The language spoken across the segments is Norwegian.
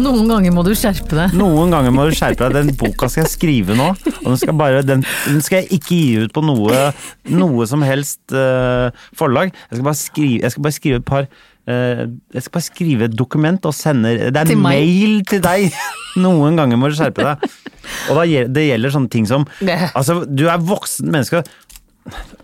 Noen ganger må du skjerpe deg. Noen ganger må du skjerpe deg. Den boka skal jeg skrive nå, og den skal, bare, den, den skal jeg ikke gi ut på noe, noe som helst eh, forlag. Jeg skal bare skrive, jeg skal bare skrive et par eh, jeg skal bare skrive et dokument og sende Det er Til meg. mail til deg! Noen ganger må du skjerpe deg. Og da, gjel- det gjelder sånne ting som Det. Altså, du er voksen menneske.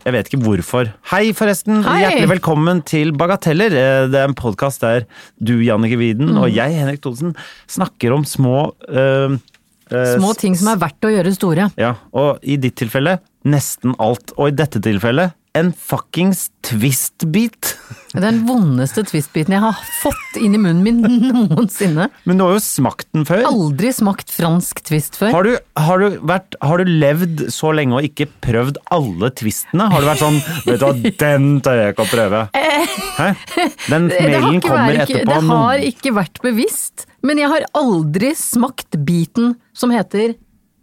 Jeg vet ikke hvorfor. Hei, forresten! Hei! Hjertelig velkommen til Bagateller. Eh, Det er en podkast der du, Jannicke Widen, Mm. og jeg, Henrik Thodesen, snakker om små eh, eh, Små ting som er verdt å gjøre store. Ja, og i ditt tilfelle nesten alt. Og i dette tilfellet en fuckings twist-bit! Den vondeste twistbiten jeg har fått inn i munnen min noensinne. Men du har jo smakt den før. Aldri smakt fransk twist før. Har du, har, du vært, har du levd så lenge og ikke prøvd alle twistene? Har du vært sånn Vet du hva, den tør jeg ikke å prøve. Hæ? Den Eh, Det- det har mailen ikke kommer vært- etterpå. Det har noen- ikke vært bevisst, men jeg har aldri smakt biten som heter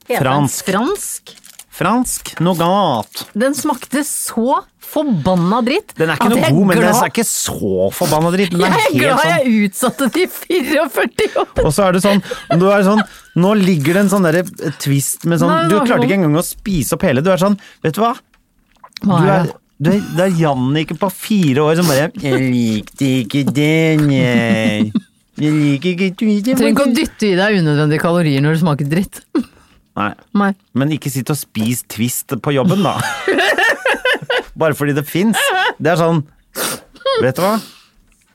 heter den Fransk. fransk. Fransk nougat. Den smakte så forbanna dritt Den er ikke at noe jeg god, men den glad- er ikke så forbanna dritt. Den Jeg er er helt glad sånn jeg utsatte det i 44 år! Og så er det sånn, du er sånn Nå ligger det en sånn derre twist med sånn Nei, Du hva- klarte ikke engang å spise opp hele. Du er sånn, vet du hva? Du Hva er er, det? du er, det er Jannicke på fire år som bare Jeg likte ikke den, jeg. Jeg liker ikke twisten. Trenger ikke å dytte i deg unødvendige kalorier når det smaker dritt. Nei, Nei. men ikke sitt og spis twist på jobben, da. Bare fordi det fins. Det er sånn Vet du hva?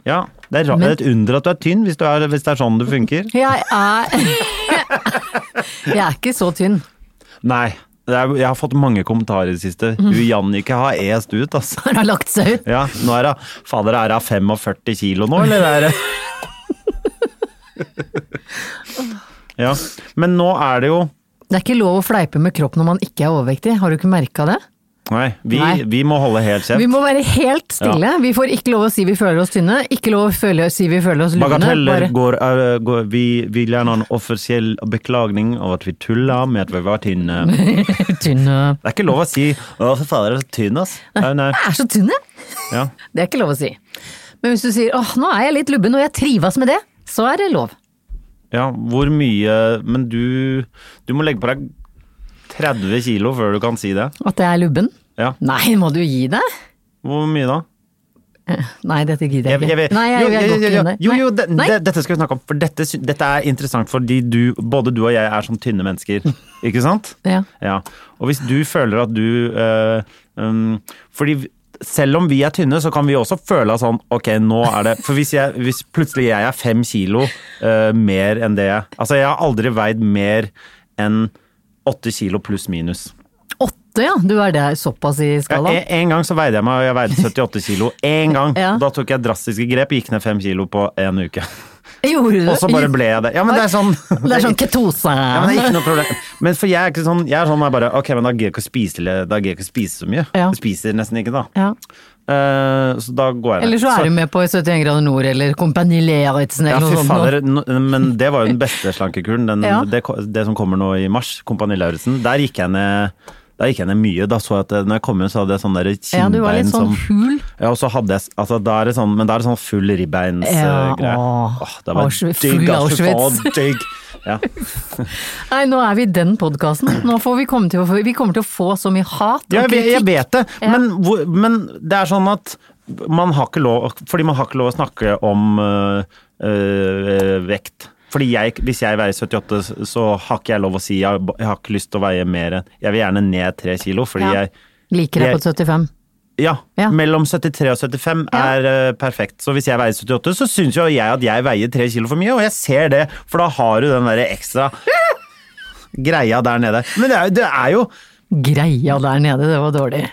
Ja, det er, ra- det er et under at du er tynn, hvis, du er, hvis det er sånn det funker. Jeg er Jeg er ikke så tynn. Nei. Det er, jeg har fått mange kommentarer i det siste. Mm. Hun Jannicke har est ut, altså. Hun har lagt seg ut. Ja, nå er hun Fader, er hun 45 kilo nå, eller er det Ja. Men nå er det jo Det er ikke lov å fleipe med kropp når man ikke er overvektig. Har du ikke merka det? Nei, vi, Nei. vi må holde helt kjeft. Vi må være helt stille. Vi får ikke lov å si vi føler oss tynne. Ikke lov å føle, si vi føler oss lune. Bagateller Bare. går, er, går Vi vil gjerne ha en offisiell beklagning av at vi tulla med at vi var tynne. Det Tynne. er ikke lov å si 'Å, for fader, er du tynn', ass. Nei, nei. Jeg er så tynn, jeg! Ja. Det er ikke lov å si. Men hvis du sier åh, nå er jeg litt lubben og jeg trives med det, så er det lov. ja, hvor mye Men du, du må legge på deg 30 kilo før du kan si det. At jeg er lubben? Ja. Nei, må du gi deg? Hvor mye da? Nei, dette gidder jeg Jeg- ikke. jeg vet- Nei, jeg, jo, jeg jo, går ikke jo, inn der. jo, jo, Nei. det, Nei. det, dette skal vi snakke om, for dette, sy- dette er interessant fordi du, både du og jeg er som tynne mennesker. Ikke sant? Ja. Ja. Og hvis du føler at du øh, øhm, Fordi vi- selv om vi er tynne, så kan vi også føle at sånn Ok, nå er det For hvis, jeg, hvis plutselig jeg er fem kilo øh, mer enn det jeg Altså, jeg har aldri veid mer enn åtte kilo pluss minus. Åtte, ja. Du er der såpass i Ja, skalaen. en, en gang så veide jeg meg, og jeg veide 78 kilo. En gang! Ja. Da tok jeg drastiske grep, gikk ned fem kilo på en uke. Gjorde du det? Og så bare ble jeg der. Ja, men det er sånn Det er sånn ketose. ja, men det er ikke noe problem. Men for jeg er ikke sånn, jeg er sånn jeg bare, ok, men da gir jeg ikke å spise, da gir jeg ikke å spise så mye. Ja. Jeg Spiser nesten ikke da. Ja. Eh, så da går jeg ned. Eller så er du med på 71 grader nord eller Kompani Lauritzen ja, eller fy noe sånt. fader, no, men det var jo den beste slankekuren. Den, Ja. det, ko- det som kommer nå i mars, Kompani Lauritzen. Der gikk jeg ned der gikk jeg ned mye. Da så jeg at eh, når jeg kom inn, så hadde jeg sånn der Ja, du var kinnbein litt sånn som hul. Ja, og så hadde jeg altså, da er det sånn, Men da er det sånn full ribbeins-greie. Ja, åh. det var Auschwitz, digg, full altså, fy faen, Auschwitz. digg. Ja. Nei, nå er vi i den podkasten. Nå får vi komme til å få, vi kommer til å få så mye hat og Ja, jeg, vet- jeg kritikk. vet det, men, hvor, men det er sånn at man har ikke lov Fordi man har ikke lov å snakke om øh, øh, vekt. Fordi jeg, Hvis jeg veier 78, så har ikke jeg lov å si jeg, har- jeg har ikke lyst til å veie mer enn Jeg vil gjerne ned tre kilo, fordi Ja. jeg Liker deg på 75. ja, Ja. mellom 73 og 75 Ja. er øh, perfekt. Så hvis jeg veier 78, så syns jo jeg at jeg veier tre kilo for mye, og jeg ser det, for da har du den derre ekstra greia der nede. Men det er, jo- det er jo Greia der nede, det var dårlig.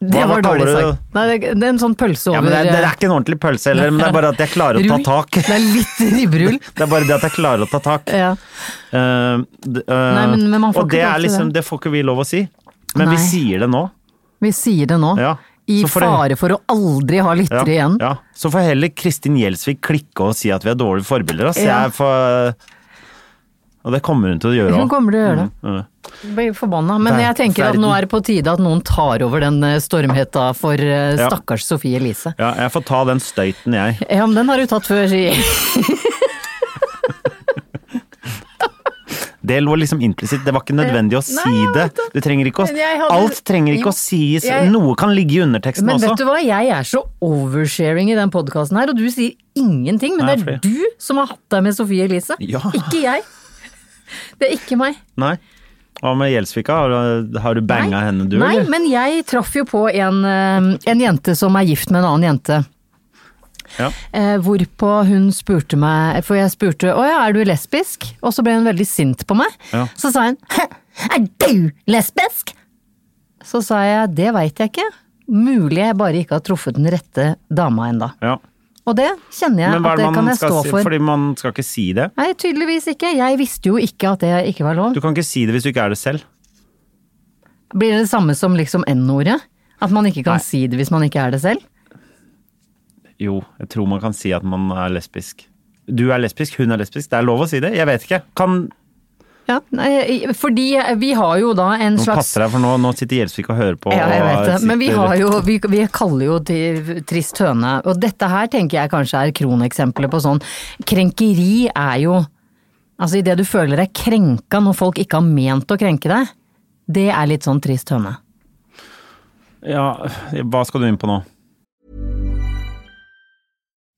Det Hva- hva var dårlig kaller du sagt. Nei, det, det er en sånn pølse over Ja, men det er, det er ikke en ordentlig pølse heller, men det er bare at jeg klarer å ta Rull. tak. Det er litt ribberull. Det er bare det at jeg klarer å ta tak. Ja. Eh, d- eh, Nei, men- men man får og ikke det lov er til liksom, det får ikke vi lov å si. Men Nei. vi sier det nå. Vi sier det nå. Ja. I Så får det- fare for å aldri ha Ja, lyttere igjen. ja. Så får heller Kristin Gjelsvik klikke og si at vi er dårlige forbilder. ass. Ja. Jeg er for... Og det kommer hun til å gjøre Hun òg. kommer til å gjøre det. Mm. Blir forbanna. Men Ver- jeg tenker at nå er det på tide at noen tar over den eh, stormhetta for eh, Ja. stakkars Sofie Elise. Ja, jeg får ta den støyten, jeg. Ja, men den har du tatt før, sier Det lå liksom implisitt. Det var ikke nødvendig å si Nei, jeg det. vet det. Du trenger ikke å... Men jeg hadde- Alt trenger Jo, ikke å sies. jeg- Noe kan ligge i underteksten Men vet også. du hva, jeg er så oversharing i den podkasten her, og du sier ingenting. Men Nei, det er du som har hatt deg med Sofie Elise, Ja. ikke jeg. Det er ikke meg. Nei. Hva med Gjelsvika? Har, du- har du banga henne, du, Nei, eller? men jeg traff jo på en, eh, en jente som er gift med en annen jente. Ja. Eh, hvorpå hun spurte meg, for jeg spurte å ja, er du lesbisk? Og så ble hun veldig sint på meg. Ja. Så sa hun «Hæ, er du lesbisk? Så sa jeg det veit jeg ikke. Mulig jeg bare ikke har truffet den rette dama enda. Ja. Og det kjenner jeg Men hva at er det det kan man jeg skal stå si? for. Fordi man skal ikke si det. Nei, tydeligvis ikke. Jeg visste jo ikke at det ikke var lov. Du kan ikke si det hvis du ikke er det selv. Blir det det samme som liksom N-ordet? At man ikke kan Nei. si det hvis man ikke er det selv? Jo, jeg tror man kan si at man er lesbisk. Du er lesbisk, hun er lesbisk. Det er lov å si det. Jeg vet ikke. Kan Ja, nei, fordi vi har jo da en noen slags passe deg, for nå, nå sitter Gjelsvik og hører på. Ja, jeg og vet det. Men vi, sitter- har jo, vi, vi kaller jo til trist høne. Og dette her tenker jeg kanskje er kroneksempelet på sånn. Krenkeri er jo Altså idet du føler deg krenka når folk ikke har ment å krenke deg. Det er litt sånn trist høne. Ja, hva skal du inn på nå?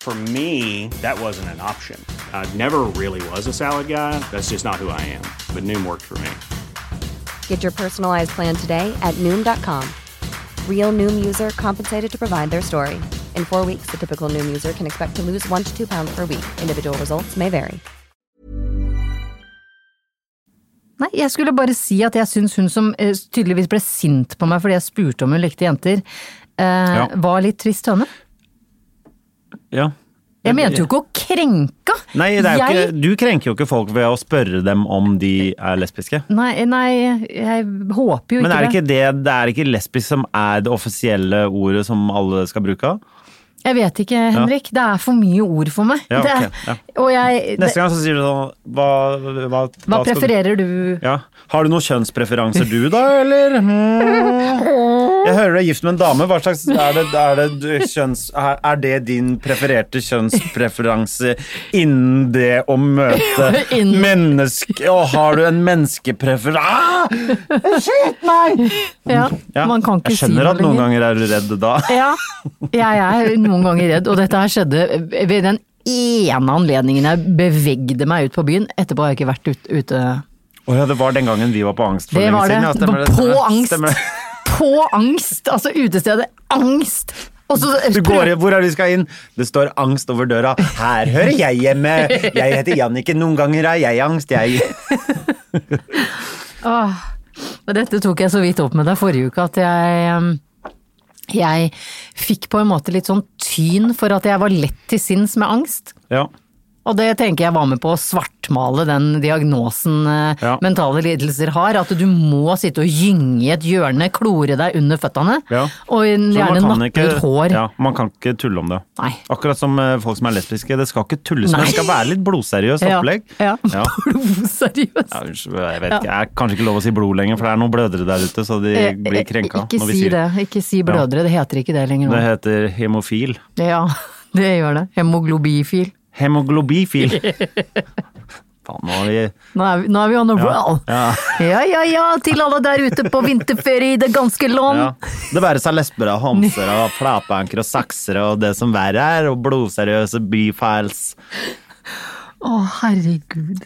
For me, that wasn't an option. I never really was a salad guy. That's just not who I am. But Noom worked for me. Get your personalized plan today at Noom.com. Real Noom user compensated to provide their story. In four weeks, the typical Noom user can expect to lose one to two pounds per week. Individual results may vary. Nei, jeg skulle bare si at jeg syns hun som eh, tydeligvis ble sint på meg fordi jeg spurte om hun likte jenter, eh, Ja. var litt trist høne. Ja. Jeg mente jo ikke å krenke! Nei, det er jo jeg, ikke, du krenker jo ikke folk ved å spørre dem om de er lesbiske. Nei, nei, jeg håper jo Men ikke, er det ikke det, det er ikke lesbisk som er det offisielle ordet som alle skal bruke? av? Jeg vet ikke, Henrik. Det er for mye ord for meg. Ja, det er, ok, ja. Og jeg det, Neste gang så sier du sånn Hva, hva, Hva skal du- prefererer du? Ja. Har du noen kjønnspreferanser du, da, eller? Hmm. Jeg hører du er gift med en dame. Hva slags Er det, er det, du- kjønns, er er det din prefererte kjønnspreferanse innen det å møte Innen- menneske... Og har du en menneskepreferanse ah! Skyt meg! Ja, Ja, man kan ikke jeg si skjønner noe at noen lenger. ganger er du redd da. Ja, jeg er noen ganger redd, og dette her skjedde ved den ene anledningen jeg bevegde meg ut på byen. Etterpå har jeg ikke vært ut, ute. Å ja, det var den gangen vi var på angst for Det lenge var det. siden. ja, det stemmer var det, på stemmer det, angst! stemmer det. På angst! Altså utestedet Angst! Og så Du prøv- går i, hvor er det vi skal inn? Det står angst over døra. Her hører jeg hjemme! Jeg heter Jannicke, noen ganger er jeg angst, jeg. Åh. Men Dette tok jeg så vidt opp med deg forrige uke, at jeg em, jeg fikk på en måte litt sånn tyn for at jeg var lett til sinns med angst. Ja. Og det tenker jeg var med på å svartmale den diagnosen eh, Ja. mentale lidelser har. At du må sitte og gynge i et hjørne, klore deg under føttene, Ja. og Så man gjerne kan nappe ikke- ut hår. Ja, man kan ikke tulle om det. Nei. Akkurat som eh, folk som er lesbiske. Det skal ikke tulles med, Nei. det skal være litt blodseriøst Ja. opplegg. Ja. Ja. Blodseriøst. Ja, unnskyld, jeg vet ikke, jeg er kanskje ikke lov å si blod lenger, for det er noen blødere der ute, så de Eh, blir krenka. Ikke når vi si sier det. Ikke si blødere, det heter ikke det lenger nå. Det heter hemofil. Ja, det gjør det. Hemoglobifil. Hemoglobifil! Faen, nå har vi Nå er vi, nå er vi on a roll. ja. Ja, ja, ja, til alle der ute på vinterferie i det ganske land. ja. Det være seg lesbere, homser og flatbanker og saksere og det som verre er, og blodseriøse byfiles. Å, herregud.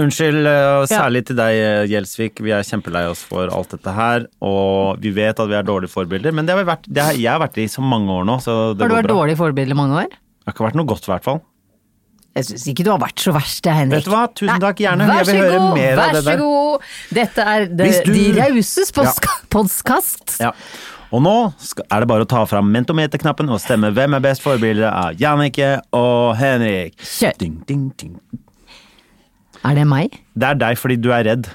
Unnskyld, eh, særlig til deg, eh, Gjelsvik. Vi er kjempelei oss for alt dette her. Og vi vet at vi er dårlige forbilder, men det har vi vært, det har, jeg har vært det i så mange år nå. Så det Har du går vært bra. dårlig forbilde i mange år? Det har ikke vært noe godt, i hvert fall. Jeg syns ikke du har vært så verst, jeg, Henrik. Vet du hva? Tusen Nei, takk, gjerne. Vær så Jeg vil høre god, mer av vær det så der. god. Dette er de, Hvis du- de rauses podska- podkast. Ja. Og nå skal, er det bare å ta fram mentometerknappen og stemme hvem er best forbilde av Jannicke og Henrik. Kjør. Ding, ding, ding. Er det meg? Det er deg fordi du er redd.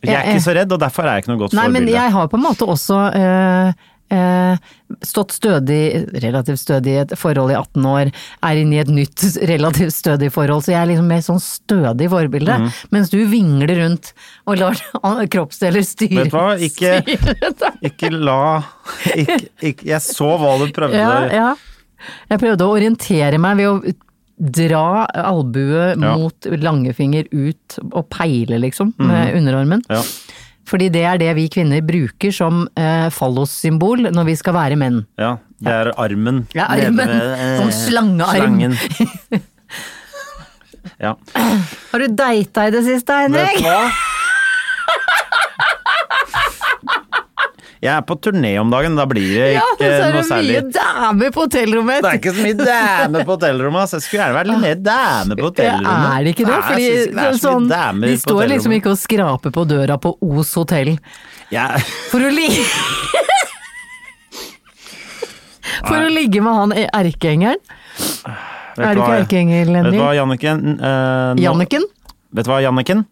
Jeg er Jeg- ikke så redd, og derfor er jeg ikke noe godt Nei, men forbilde. jeg har på en måte også eh, eh, stått stødig, relativt stødig i et forhold i 18 år, er inne i et nytt relativt stødig forhold, så jeg er liksom mer sånn stødig forbilde. Mhm. Mens du vingler rundt og lar kroppsdeler styre. Vet du hva? Ikke- styre deg. Ikke la ikke, ikke, Jeg så hva du prøvde. Ja, ja. Jeg prøvde å orientere meg ved å dra albuet Ja. Mhm. mot langfinger ut og peile, liksom, med underarmen. Ja. Fordi det er det vi kvinner bruker som eh, fallossymbol når vi skal være menn. Ja, det er armen. Ja, armen. Nede ved, eh, Sånn slangearm. Slangen. Ja. Har du deita i det siste, Vet du Henrik? hva? Jeg er på turné om dagen, da blir det Ja, så ikke er det noe særlig mye damer på hotellrommet. Det er ikke så mye dame på hotellrommet, ass. Jeg skulle gjerne vært litt mer dame på hotellrommet. Er det ikke det? Nei, Fordi jeg synes ikke det er så sånn, mye damer de på står liksom hotellrommet. ikke og skraper på døra på Os hotell Jeg- for å ligge For å ligge med han erkeengelen. Vet Er du hva- ikke erkeengel, Vet du hva, Henrik? Janniken? Eh, nå- Janniken? Vet du hva, Janniken?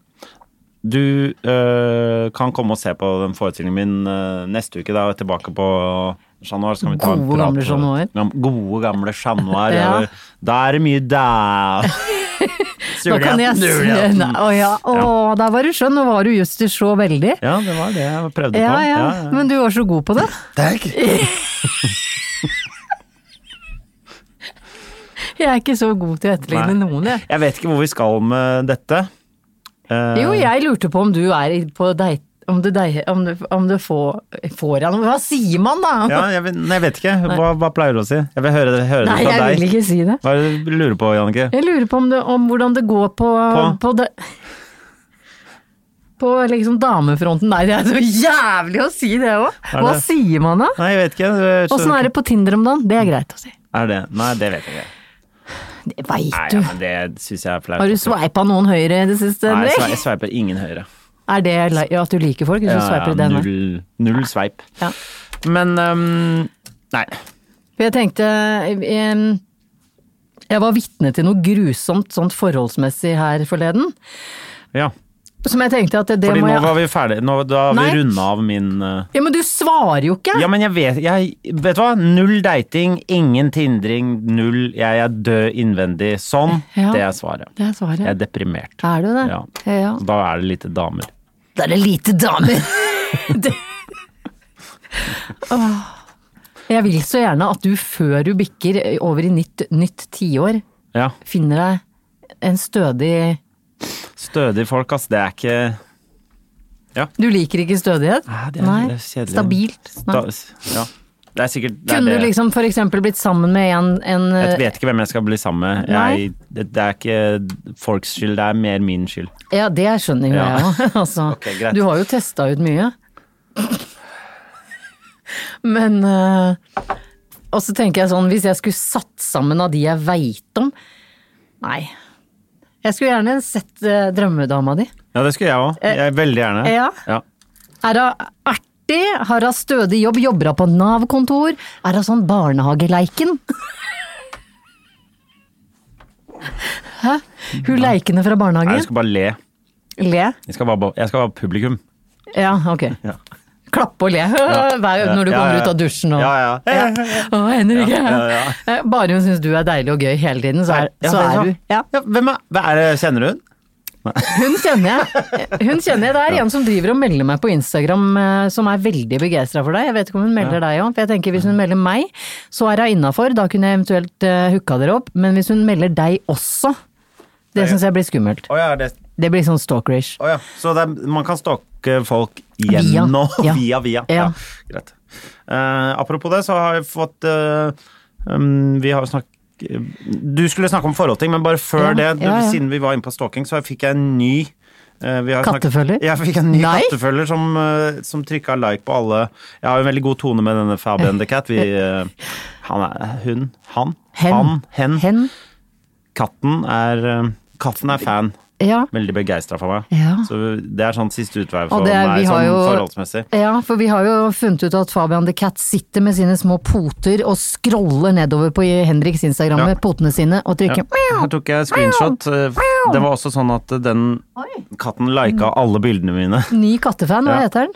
Du øh, kan komme og se på den forestillingen min øh, neste uke. Da er jeg tilbake på Chat Noir. så kan vi ta en Gode prat. gamle Chat Noir. Ja, Gode gamle Chat Noir. Ja. over- Da er det mye da. Da kan jeg se Surheten. Nei, Å ja, å, der var du skjønn, nå var du justis så veldig. Ja, det var det jeg prøvde Ja, på. ja, men du var så god på det. Takk. Jeg er ikke så god til å etterligne Nei. noen, jeg. Jeg vet ikke hvor vi skal med dette. Eh, Jo, jeg lurte på om du er i- på date... Om du, dei- om du, om du får, får jeg noe Hva sier man da? ja, jeg, vet- nei, jeg vet ikke. Hva, hva pleier du å si? Jeg vil høre det, høre Nei, det fra jeg deg. vil ikke si det. Hva er det du lurer på, Jannicke? Jeg lurer på om, det, om hvordan det går på På, På? det på liksom damefronten. Nei, det er så jævlig å si det òg! Er Hva det? sier man da? Nei, jeg vet ikke. Jeg Åssen skjønner er det på Tinder om dagen? Det er greit å si. ikke. Er det? Nei, det vet jeg ikke. Det veit Nei, ja, du. men det syns jeg er flaut. Har du sveipa noen høyre i det siste, Nei, jeg swi- Henrik? jeg sveiper ingen høyre. Er det li- at du liker folk? Hvis du sveiper i denne? null, null sveip. Ja. Men ehm, Nei. For jeg tenkte em, Jeg var vitne til noe grusomt sånt forholdsmessig her forleden. Ja. Som jeg tenkte at det, det Fordi må nå jeg var vi ferdige. Nå, da har Nei. vi runda av min eh, Ja, Men du svarer jo ikke! Ja, men jeg vet jeg, Vet du hva? Null dating, ingen tindring, null Jeg er død innvendig. Sånn. Ja. Det er svaret. Det er svaret. Jeg er deprimert. Er du det? Ja. ja. Da er det lite damer. Da er det lite damer! det... Åh. Jeg vil så gjerne at du, før du bikker over i nytt, nytt tiår, Ja. finner deg en stødig Stødige folk, ass. Det er ikke Du liker ikke stødighet? Nei, det er- det er kjedelig. Stabilt? Nei. da, Ja. Det er sikkert det er Kunne det. du liksom eh, for eksempel blitt sammen med en, en Jeg vet ikke hvem jeg skal bli sammen med. Jeg, det, det er ikke folks skyld, det er mer min skyld. Ja, det skjønner jo Ja. jeg òg. Altså, Ok, greit. du har jo testa ut mye. Men eh, Og så tenker jeg sånn, hvis jeg skulle satt sammen av de jeg veit om Nei. Jeg skulle gjerne sett eh, drømmedama di. Ja, det skulle jeg òg. Jeg Veldig gjerne. Eh, ja. Er hun artig? Har hun stødig jobb? Jobber hun på Nav-kontor? Er hun sånn barnehageleiken? Hun leikende fra Nei, jeg barnehagen? skal bare le. Le? Jeg skal bare, jeg skal være publikum. Ja, ok. Ja. Klappe og le hver, når du Ja, kommer ja. ut av dusjen. Og, Ja, ja. Å, Henrik! Ja, ja, Eh, Bare hun syns du er deilig og gøy hele tiden, så er, Ja, så det er er du sant. Ja, hvem er, hva er det, kjenner du hun? Hun kjenner jeg. Hun kjenner jeg. Det er en som driver og melder meg på Instagram eh, som er veldig begeistra for deg. Jeg vet ikke om hun melder deg òg, for jeg tenker hvis hun melder meg, så er hun innafor. Da kunne jeg eventuelt eh, hooka dere opp. Men hvis hun melder deg også, det syns jeg blir skummelt. Å ja, det, Det blir sånn stalkerish. å ja. Så det er, man kan stalke folk Via. gjennom Ja. via, via. via. Ja. greit. Eh, apropos det, så har jeg fått eh, um, Vi har jo snakk... Du skulle snakke om forholdting, men bare før Ja, det, du, ja, ja. siden vi var inne på stalking, så fikk jeg en ny eh, vi har snakket- Kattefølger? Jeg fikk en ny Nei. kattefølger som, eh, som trykka like på alle Jeg har jo en veldig god tone med denne Fabian the Cat. Vi, eh, han er hun, han, Hen. han, hen. Hen? Katten er eh, Katten er fan. Ja. Veldig begeistra for meg. Ja. Så det er sånn siste utvei for Og det er- vi meg, har sånn jo- forholdsmessig. Ja, for vi har jo funnet ut at Fabian the Cat sitter med sine små poter og scroller nedover på Henriks Instagram med Ja. potene sine og trykker Her mjau. tok jeg screenshot. eh, Det var også sånn at den katten lika alle bildene mine. Ny kattefan, hva Ja. heter den?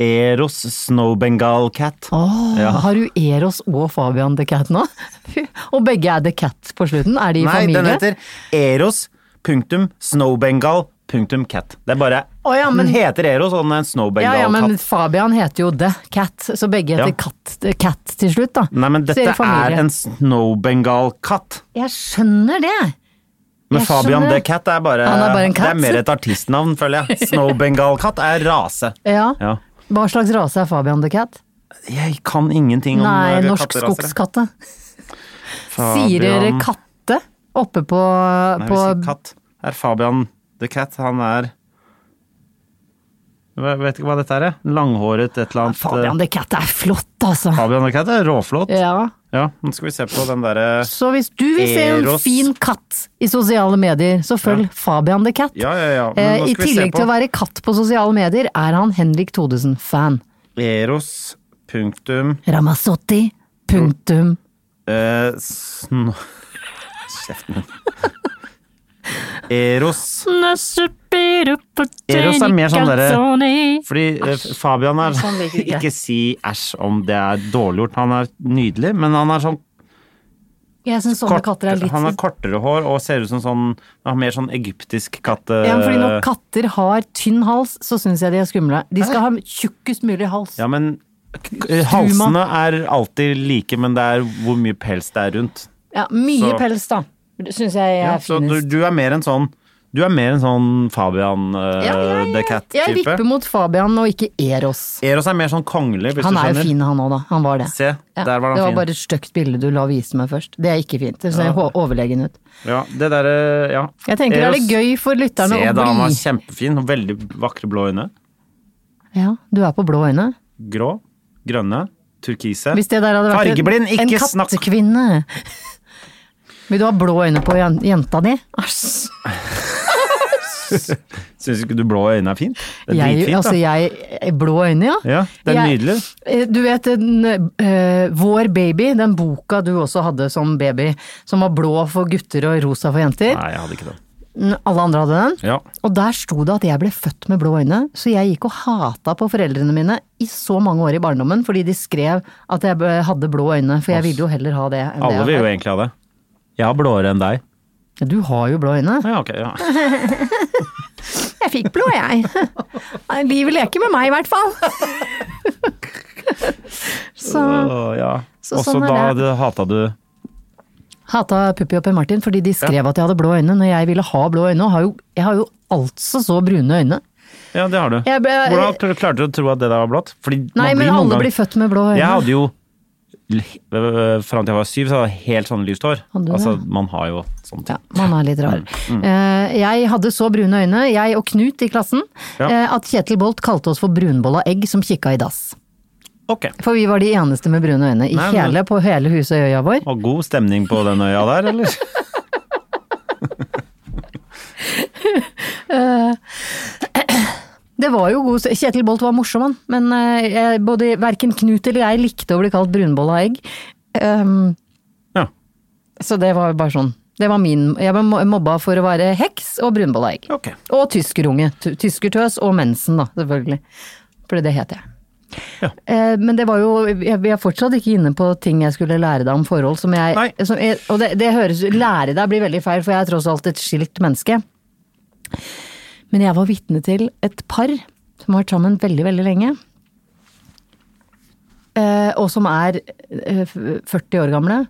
Eros Snow Bengal Cat. Åh, Ja. Har du Eros og Fabian the Cat nå? Fy, og begge er the Cat på slutten? Er de i Nei, familie? den heter Eros punktum Snow Bengal punktum Cat. Det er bare Å ja, men- Den heter Eros, og den er en Snow ja, Bengal ja, men Cat. Fabian heter jo The Cat, så begge heter Ja. Cat, Cat til slutt, da. Nei, men Så de dette familie. er en Snow Bengal Katt. Jeg skjønner det! Men Jeg Fabian skjønner the det. Cat er bare, Han er bare en Det katt. er mer et artistnavn, føler jeg. Snow Bengal Katt er rase. Ja. Ja. Hva slags rase er Fabian the Cat? Jeg kan ingenting om Nei, eh, norsk katteraser, jeg. skogskatte. Sier dere Fabian- katte oppe på, på Nei, vi sier katt. Her er Fabian the Cat. Han er Jeg vet ikke hva dette er. jeg. Langhåret et eller annet. Fabian eh, the Cat er flott, altså! Fabian the Cat er råflott. Ja. Ja. nå skal vi se på den eh, derre Så hvis du vil se en Eros. fin katt i sosiale medier, så følg Fabian the Cat. Ja, ja, ja. Men Eh, nå I skal vi se tillegg til å på være katt på sosiale medier, er han Henrik Thodesen-fan. Eros punktum Ramazzotti, punktum. eh, sn... Kjeften din. Eros Eros er mer sånn derre- Fordi eh, Fabian er Sånn liker ikke jeg. Ikke si æsj om det er dårliggjort. Han er nydelig, men han er sånn Jeg syns sånne Kort- katter er litt Han har kortere hår og ser ut som sånn han har Mer sånn egyptisk eh, katte... ja, fordi Når katter har tynn hals, så syns jeg de er skumle. De skal ha tjukkest mulig hals. Ja, men k- halsene er alltid like, men det er hvor mye pels det er rundt. Ja, mye Så- pels, da. Syns jeg Ja, er så du, finest. du er mer en sånn Du er mer en sånn Fabian eh, Ja, ja, ja. the Jeg Cat-type. vipper mot Fabian og ikke Eros. Eros er mer sånn kongelig, hvis Han du er jo skjønner. fin, han òg, da. Han var det. Se, der var han det var fin. bare et stygt bilde du la vise meg først. Det er ikke fint. Det ser hå- overlegen ut. Ja, det derre Ja. Jeg tenker det er Eros- litt gøy for lytterne Se å da, han var bli kjempefin. og Veldig vakre blå øyne. Ja, du er på blå øyne. Grå, grønne, turkise. Hvis det der hadde vært en- Fargeblind, ikke en snakk! kattekvinne. Vil du ha blå øyne på jen- jenta di? Æsj. Syns ikke du blå øyne er fint? Det er Jeg, dritfint, da. altså jeg, blå øyne, ja. Ja, det er Jeg- nydelig. Eh, Du vet den, eh, Vår baby, den boka du også hadde som baby, som var blå for gutter og rosa for jenter. Nei, jeg hadde ikke den. N- Alle andre hadde den. Ja. Og der sto det at jeg ble født med blå øyne, så jeg gikk og hata på foreldrene mine i så mange år i barndommen fordi de skrev at jeg b- hadde blå øyne, for jeg ville jo heller ha det enn Alle det. vil jeg jo har. egentlig ha det. Jeg har blåere enn deg. Du har jo blå øyne. Ja, ok. Ja. Jeg fikk blå, jeg. Nei, Livet leker med meg, i hvert fall. så Å, ja. Så Også sånn er da det. det. hata du hata Puppi og Per Martin fordi de skrev at jeg hadde blå øyne når jeg ville ha blå øyne. Og har jo, jeg har jo altså så brune øyne. Ja, det har du. Jeg ble- Hvordan kl- klarte du å tro at det der var blått? Fordi man Nei, men noen alle ganger- blir født med blå øyne. Jeg hadde jo l- øh, Fram til jeg var syv, så hadde jeg helt sånn lyst hår. Hadde du Altså, det? man har jo sånn Ja, man er litt rar. Mm, Eh, Jeg hadde så brune øyne, jeg og Knut i klassen, Ja. eh, at Kjetil Bolt kalte oss for brunbolla egg som kikka i dass. Ok. For vi var de eneste med brune øyne i Nei, men- hele, på hele huset og øya vår. Og god stemning på den øya der, eller? Det var jo god, Kjetil Bolt var morsom, han. Men eh, jeg- både, verken Knut eller jeg likte å bli kalt brunbolla egg. Ehm, Ja. så det var jo bare sånn. Det var min, jeg ble mo- mobba for å være heks og brunbolleegg. Ok. Og tyskerunge. T- Tyskertøs og mensen, da, selvfølgelig. For det het jeg. Eh, Men det var jo jeg- Vi er fortsatt ikke inne på ting jeg skulle lære deg om forhold som Nei. jeg, som jeg Og det, det høres Lære deg blir veldig feil, for jeg er tross alt et skilt menneske. Men jeg var vitne til et par som har vært sammen veldig, veldig lenge. Eh, Og som er eh, f- 40 år gamle.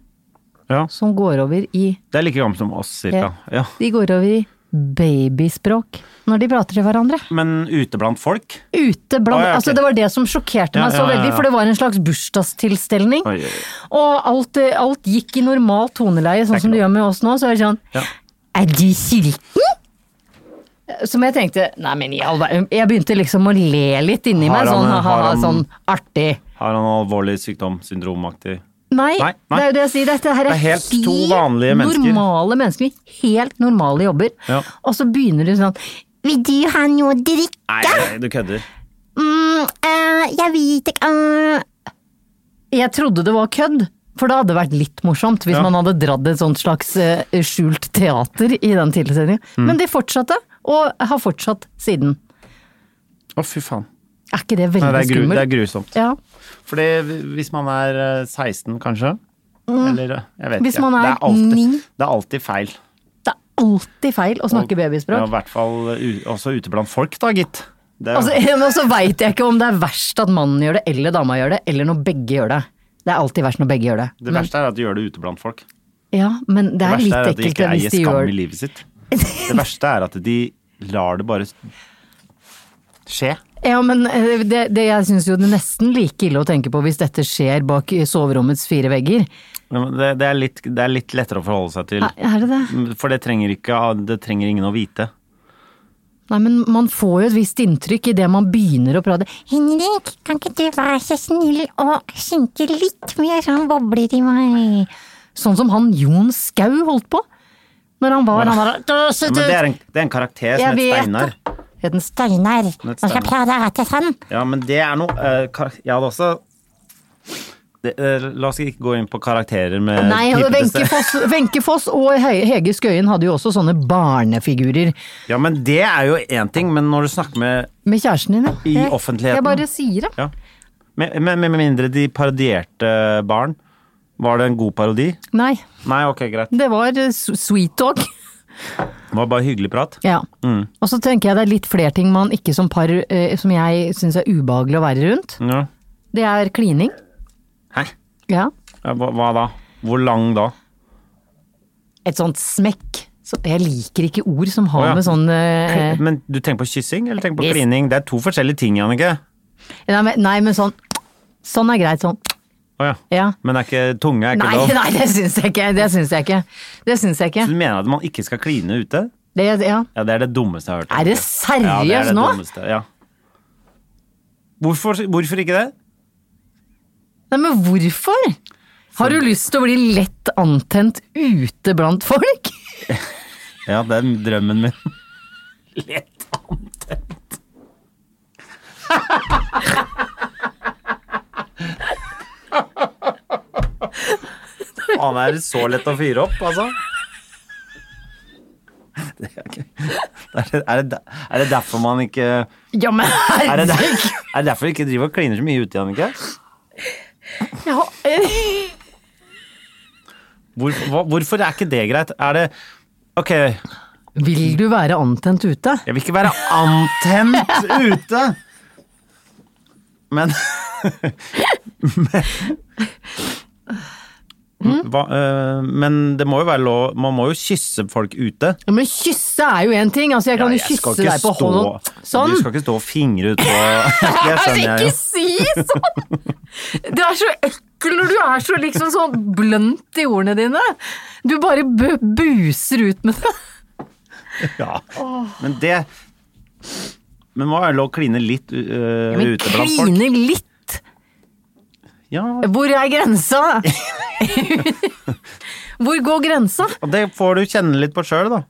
Ja. Som går over i eh, Det er like gammelt som oss, cirka. Ja. De går over i babyspråk når de prater til hverandre. Men ute blant folk? Ute blant, Å, ja, ok. altså Det var det som sjokkerte Ja, meg så ja, ja, ja. veldig, for det var en slags bursdagstilstelning. Oi, oi, oi. Og alt, eh, alt gikk i normalt toneleie, sånn som det gjør med oss nå. Så er det sånn Ja. Er du sulten? Som jeg tenkte Nei, men i all verden Jeg begynte liksom å le litt inni Har meg, han- sånn har ha-ha, han- sånn artig. Har han alvorlig sykdom, syndromaktig Nei, Nei, det nei. er jo det jeg sier. Dette her er, Det er helt to vanlige mennesker. normale mennesker med helt normale jobber. Ja. Og så begynner du sånn Vil du ha noe å drikke? Nei, nei, du kødder. Mm, eh, jeg vet ikke eh. Jeg trodde det var kødd. For det hadde vært litt morsomt hvis Ja. man hadde dratt et sånt slags eh, skjult teater i den tilstelningen. Mm. Men de fortsatte, og har fortsatt siden. Å, fy faen. Er ikke det Nei, veldig det, er gru, det er skummelt? grusomt. Ja. Fordi hvis man er eh, 16, kanskje? Eller eh, jeg vet Mm. Hvis ikke. man er det, er alltid, ni. det er alltid feil. Det er alltid feil å snakke Ja, babyspråk. I hvert fall eh, u- også ute blant folk, da, gitt. Det, Altså, og så veit jeg ikke om det er verst at mannen gjør det, eller dama gjør det, eller når begge gjør det. Det er alltid verst når begge gjør det. det verste er at de gjør det ute blant folk. Det, Ja, men det er verste Mm. litt er at de ekkelt ikke hvis eier de skam gjør i det. livet sitt. Det verste er at de lar det bare skje. Ja, men eh, det, det jeg syns jo det er nesten like ille å tenke på hvis dette skjer bak i soverommets fire vegger. Men Det, det, er litt, det er litt lettere å forholde seg til. Er- Er det det? For det trenger, ikke, det trenger ingen å vite. Nei, men man får jo et visst inntrykk idet man begynner å prate. Henrik, kan ikke du være så snill å skjenke litt mer sånn bobler i meg? Sånn som han Jon Skau holdt på. Når han var han var, Men det er en, det er en karakter som Jeg heter vet Steinar. Het den Steinar? Den het Og så Steinar. prate sånn. Ja, men det er noe eh, kar- Jeg hadde også det, eh, La oss ikke gå inn på karakterer med Nei, og pipete Wenche stemmer. Foss, Wenche Foss og He- Hege Skøyen hadde jo også sånne barnefigurer Ja, men det er jo én ting, men når du snakker med med kjæresten din. ja. I Jeg- offentligheten. Jeg bare sier det. Ja. Med, med, med mindre de parodierte barn. Var det en god parodi? Nei, Nei, ok, greit. det var eh, s- sweet talk. Det var bare hyggelig prat. Ja. Mm. Og så tenker jeg det er litt flere ting man ikke som par, eh, som jeg syns er ubehagelig å være rundt. Ja. Det er klining. Hæ? Ja. Ja, Hva, hva da? Hvor lang da? Et sånt smekk. Så jeg liker ikke ord som har Å, ja. med sånn eh, eh, Men du tenker på kyssing eller tenker på Yes. klining? Det er to forskjellige ting, Jannicke. nei, men- nei, men sånn Sånn er greit, sånn. Å ja. Ja. Men det er ikke tunge er ikke Nei, lov? nei, det syns jeg ikke. Det syns jeg ikke. Det syns jeg ikke. Så du mener at man ikke skal kline ute? Det, ja. Ja, det er det dummeste jeg har hørt. Er det Ja, det er seriøst det nå? dummeste, ja. Hvorfor, hvorfor ikke det? Nei, men hvorfor? Har du lyst til å bli lett antent ute blant folk? Ja, det er drømmen min. Lett antent. Han er så lett å fyre opp, altså. Det er, ikke- er, det, er, det, der- er det derfor man ikke Er Ja, men det, der, herregud! er det derfor vi ikke driver og kliner så mye ute, Jannicke? Ja, eh, Hvor, hva- hvorfor er ikke det greit? Er det Ok, jeg Vil du være antent ute? vil ikke være antent ute, men Men, Mm? hva, øh, men det må jo være lov Man må jo kysse folk ute. Ja, men kysse er jo én ting. Altså, jeg kan jo kysse deg på hånden. Sånn! Du skal ikke stå og fingre ut på Det skjønner Altså, jeg jo. ikke si sånn! Du er så ekkel når du er så liksom så blunt i ordene dine. Du bare bu buser ut med det. Ja. Men det Men det må være lov å kline litt øh, Men ute blant folk. kline litt! Ja, Hvor er grensa? Hvor går grensa? og det får du kjenne litt på sjøl, da.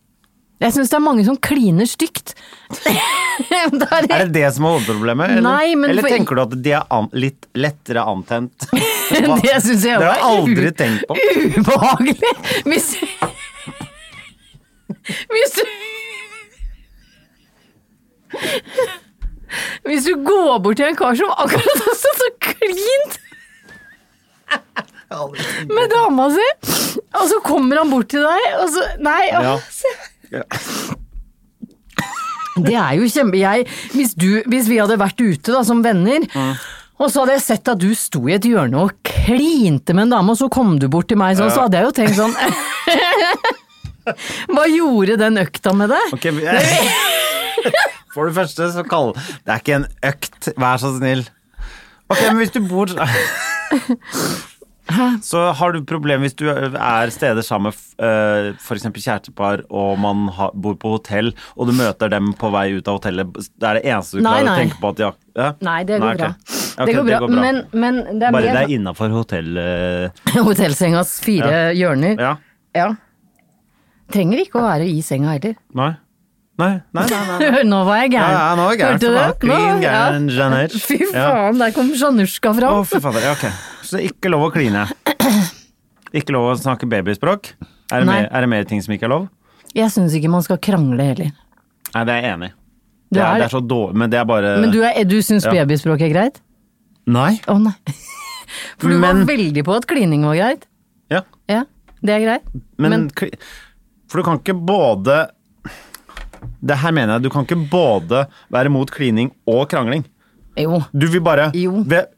Jeg syns det er mange som kliner stygt. Det er- Er det det som er hovedproblemet? Eller, Nei, men eller for- tenker du at de er an, litt lettere antent? Hva- Det syns jeg Det har var jeg u- aldri tenkt på. ubehagelig! Hvis, Hvis du Hvis du går bort til en kar som akkurat har stått så klint med dama si, og så kommer han bort til deg, og så Nei. å, Ja. se. Det er jo kjempe... Jeg, hvis, du, hvis vi hadde vært ute da, som venner, Mm. og så hadde jeg sett at du sto i et hjørne og klinte med en dame, og så kom du bort til meg sånn, så hadde jeg jo tenkt sånn Hva gjorde den økta med deg? Ok, vi- For det første så kall Det er ikke en økt, vær så snill. Ok, men hvis du bor Så har du problem hvis du er steder sammen med f.eks. kjærestepar, og man har, bor på hotell, og du møter dem på vei ut av hotellet. Det er det eneste du Nei, klarer å nei. tenke på at de har ja? Nei, det går ok. bra. Ok, det, går bra. Men, men det er Bare det mer sånn er innafor eh, hotellet hotellsengas fire hjørner. Ja. Ja. Trenger ikke å være i senga heller. Nei. Nei, nei, nei. nei. Nå var jeg Ja, gæren. ja, nå er jeg gæren. Hørte du for det? da er Clean Nå- ja. gæren, Janet. Fy Ja. faen, der kom Janusjka Å, fram. fy fader. ja, Ok. Så det er ikke lov å kline. Ikke lov å snakke babyspråk. Er det, Nei. mer, er det mer ting som ikke er lov? Jeg syns ikke man skal krangle heller. Nei, det er jeg enig i. Du Det er, er- det er så dårlig, men det er bare Men du, er- du syns Eh, Ja. babyspråk er greit? Nei. Å nei. For du Men- var veldig på at klining var greit. Ja. Ja, det er greit. Men, Men- kli- For du kan ikke både Det her mener jeg. Du kan ikke både være mot klining og krangling. Jo. Du vil bare Jo. Ve-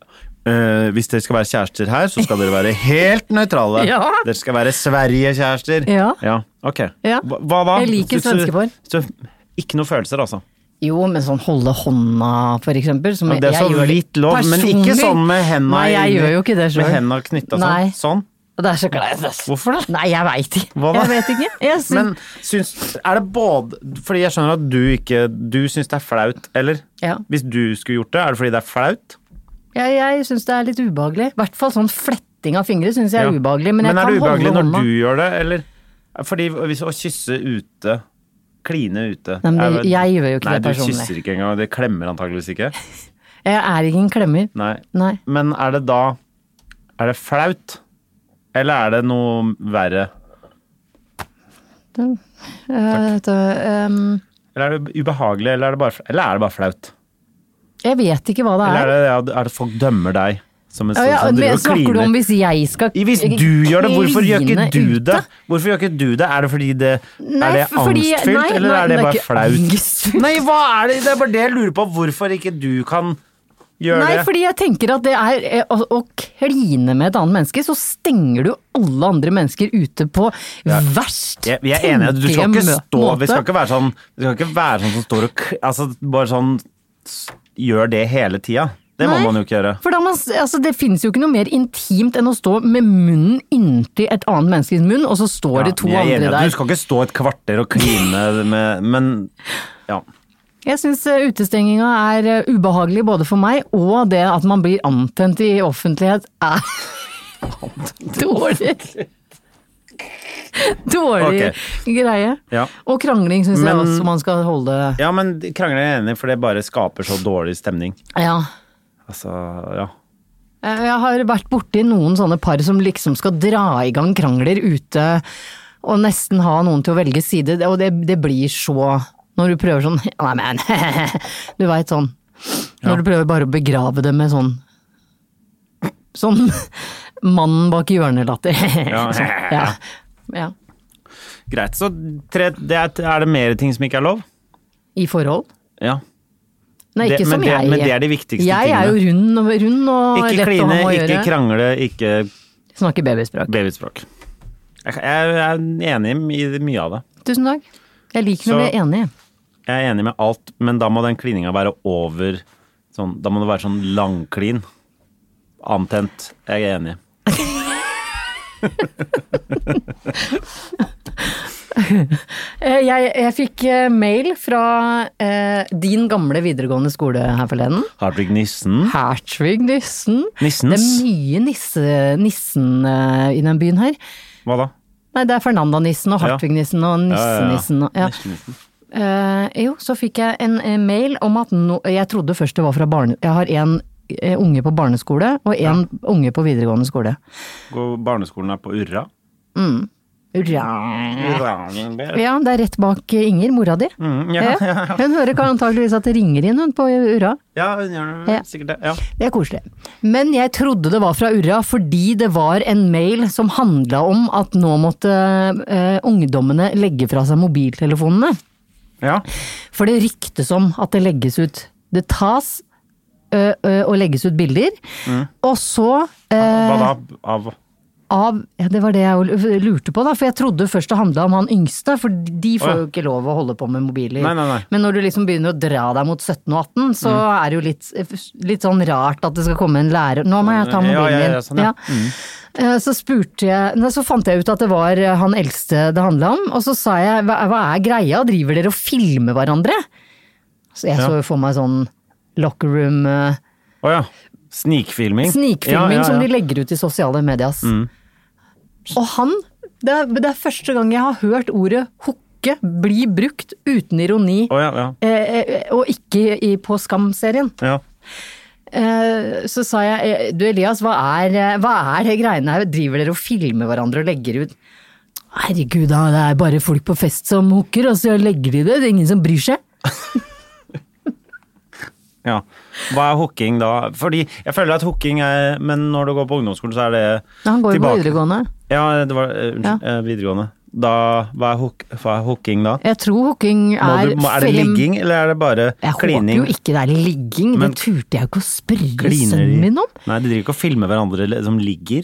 Eh, hvis dere skal være kjærester her, så skal dere være helt nøytrale. Ja. Dere skal være Sverige-kjærester. Ja. Ok. Ja. Hva, hva da? Jeg liker Så- så- svenske par. så- Ikke noe følelser, altså. Jo, men sånn holde hånda, for eksempel. Som Men det er jeg- jeg så gjør vidt lov, men ikke personlig. sånn med henda Nei, jeg gjør jo ikke det Med selv. henda knytta Nei. sånn. sånn. Og det er så kleint. ass. Hvorfor det? Nei, jeg veit ikke. Hva da? Jeg vet ikke. Jeg syns- Men syns Er det både Fordi jeg skjønner at du ikke Du syns det er flaut, eller? Ja. Hvis du skulle gjort det, er det fordi det er flaut? jeg jeg syns det er litt ubehagelig. I hvert fall sånn fletting av fingre syns jeg er Ja. ubehagelig. Men, jeg er kan det ubehagelig holde når hånda. du gjør det, eller? Fordi hvis å kysse ute, kline ute Nei, men er- jeg gjør jo ikke Nei, det personlig. du kysser ikke engang, og det klemmer antageligvis ikke. Jeg er ikke en klemmer. Nei. Nei. Men er det da Er det flaut? Eller er det noe verre? Eh, vet du, ehm, Eller er det ubehagelig, eller er det bare, fl- eller er det bare flaut? jeg vet ikke hva det Eller er. er det, ja, er det folk dømmer deg som en Ja, sånn ja, som men driver og snakker du om kliner? hvis jeg skal I- Hvis du gjør det, hvorfor gjør ikke kline du ute? det? Hvorfor gjør ikke du det? Er det fordi det Nei, Er det for- fordi- angstfylt, nei, eller nei, er det det er bare ikke flaut? angstfylt. Nei, hva er det? Det er bare det jeg lurer på. Hvorfor ikke du kan gjøre Nei, det? fordi jeg tenker at det er eh, å, å kline med et annet menneske, så stenger du alle andre mennesker ute på verst Jeg, vi er enige. Du skal ikke tenkelige mø- stå Vi skal måte. ikke være sånn Vi skal ikke være sånn som står og k- Altså, bare sånn s- Gjør det hele tida. Det må Nei, man jo ikke gjøre. For da man, s- altså, det finnes jo ikke noe mer intimt enn å stå med munnen inntil et annet menneskes munn, og så står det Ja, to vi er enige. andre Du der. skal ikke stå et kvarter og kline med Men ja. Jeg syns utestenginga er eh, ubehagelig både for meg, og det at man blir antent i offentlighet er dårlig. Dårlig greie. Ja. Og krangling syns jeg Men- også man skal holde ja, men krangler er jeg enig i, for det bare skaper så dårlig stemning. Ja. Altså, ja. Eh, Jeg har vært borti noen sånne par som liksom skal dra i gang krangler ute, og nesten ha noen til å velge side, og det, det blir så Når du prøver sånn Nei, men Du veit sånn. Når du prøver bare å begrave det med sånn Sånn mannen bak hjørnet-latter. Ja. Sånn, ja. ja. Greit, så tre, det er, er det mer ting som ikke er lov? I forhold. Ja. Nei, Det- ikke men som det- jeg. men det er de viktigste jeg er jo rund og, rund og Ikke lett kline, å ha å ikke gjøre. krangle, ikke Snakker babyspråk. babyspråk. Jeg, kan- jeg er enig i mye av det. Tusen takk. Jeg liker å Så- bli enig. Jeg er enig med alt, men da må den klininga være over sånn, Da må det være sånn langklin. Antent. Jeg er enig. Eh, Jeg, jeg fikk eh, mail fra eh, din gamle videregående skole her forleden. Hartvig Nissen. Hertvig Nissen. Det er Nissens? mye nisse, Nissen eh, i den byen her. Hva da? Nei, det er Fernanda Nissen og Ja. Hartvig Nissen og Nisse-Nissen. og- Ja. Nissen. Eh, jo, så fikk jeg en eh, mail om at no, Jeg trodde først det var fra barne... Jeg har en eh, unge på barneskole og en unge på videregående skole. Går Barneskolen er på Urra. Hurra. Mm, Ja, det er rett bak eh, Inger, mora di. ja, ja, Ja. Hun hører ikke antageligvis at det ringer inn hun på eh, Urra. ja, hun gjør Ja. det, sikkert det. Ja. Det er koselig. Men jeg trodde det var fra Urra fordi det var en mail som handla om at nå måtte eh, ungdommene legge fra seg mobiltelefonene. Ja. For det ryktes om at det legges ut Det tas ø, ø, og legges ut bilder. Og så Hva eh, da? Av av ja, Det var det jeg jo lurte på, da. For jeg trodde først det handla om han yngste, for de får Å, ja. jo ikke lov å holde på med mobiler. Nei, Mm. nei, nei. Men når du liksom begynner å dra deg mot 17 og 18, så er det jo litt, litt sånn rart at det skal komme en lærer Nå må jeg ta mobilen Ja, ja, ja, din. sånn, ja. Eh, Så spurte jeg nei, Så fant jeg ut at det var eh, han eldste det handla om, og så sa jeg hva, hva er greia, driver dere og filmer hverandre? Så jeg så jo for meg sånn locker room eh, Å ja. Snikfilming. Snikfilming Ja, Mm. ja, ja. som de legger ut i sosiale medias. Og han det er, det er første gang jeg har hørt ordet hooke bli brukt uten ironi, Å ja, ja. eh, eh, og ikke i, på Skam-serien. ja. Eh, så sa jeg eh, du Elias, hva er, eh, hva er det greiene her, driver dere og filmer hverandre og legger ut? Herregud, da, det er bare folk på fest som hooker, og så legger de det, det er ingen som bryr seg. Ja. Hva er hooking da? Fordi jeg føler at hooking er Men når du går på ungdomsskolen, så er det Han går jo på tilbake. videregående. Ja, det var eh, Unnskyld. eh, Videregående. Da, hva, er hook, hva er hooking da? Jeg tror hooking Må er du, må, er det film- ligging, eller er det bare Jeg klining? håper jo ikke det er ligging, Men- det turte jeg jo ikke å spørre Kliner de? sønnen min om. Nei, de driver ikke og filmer hverandre eller- som ligger.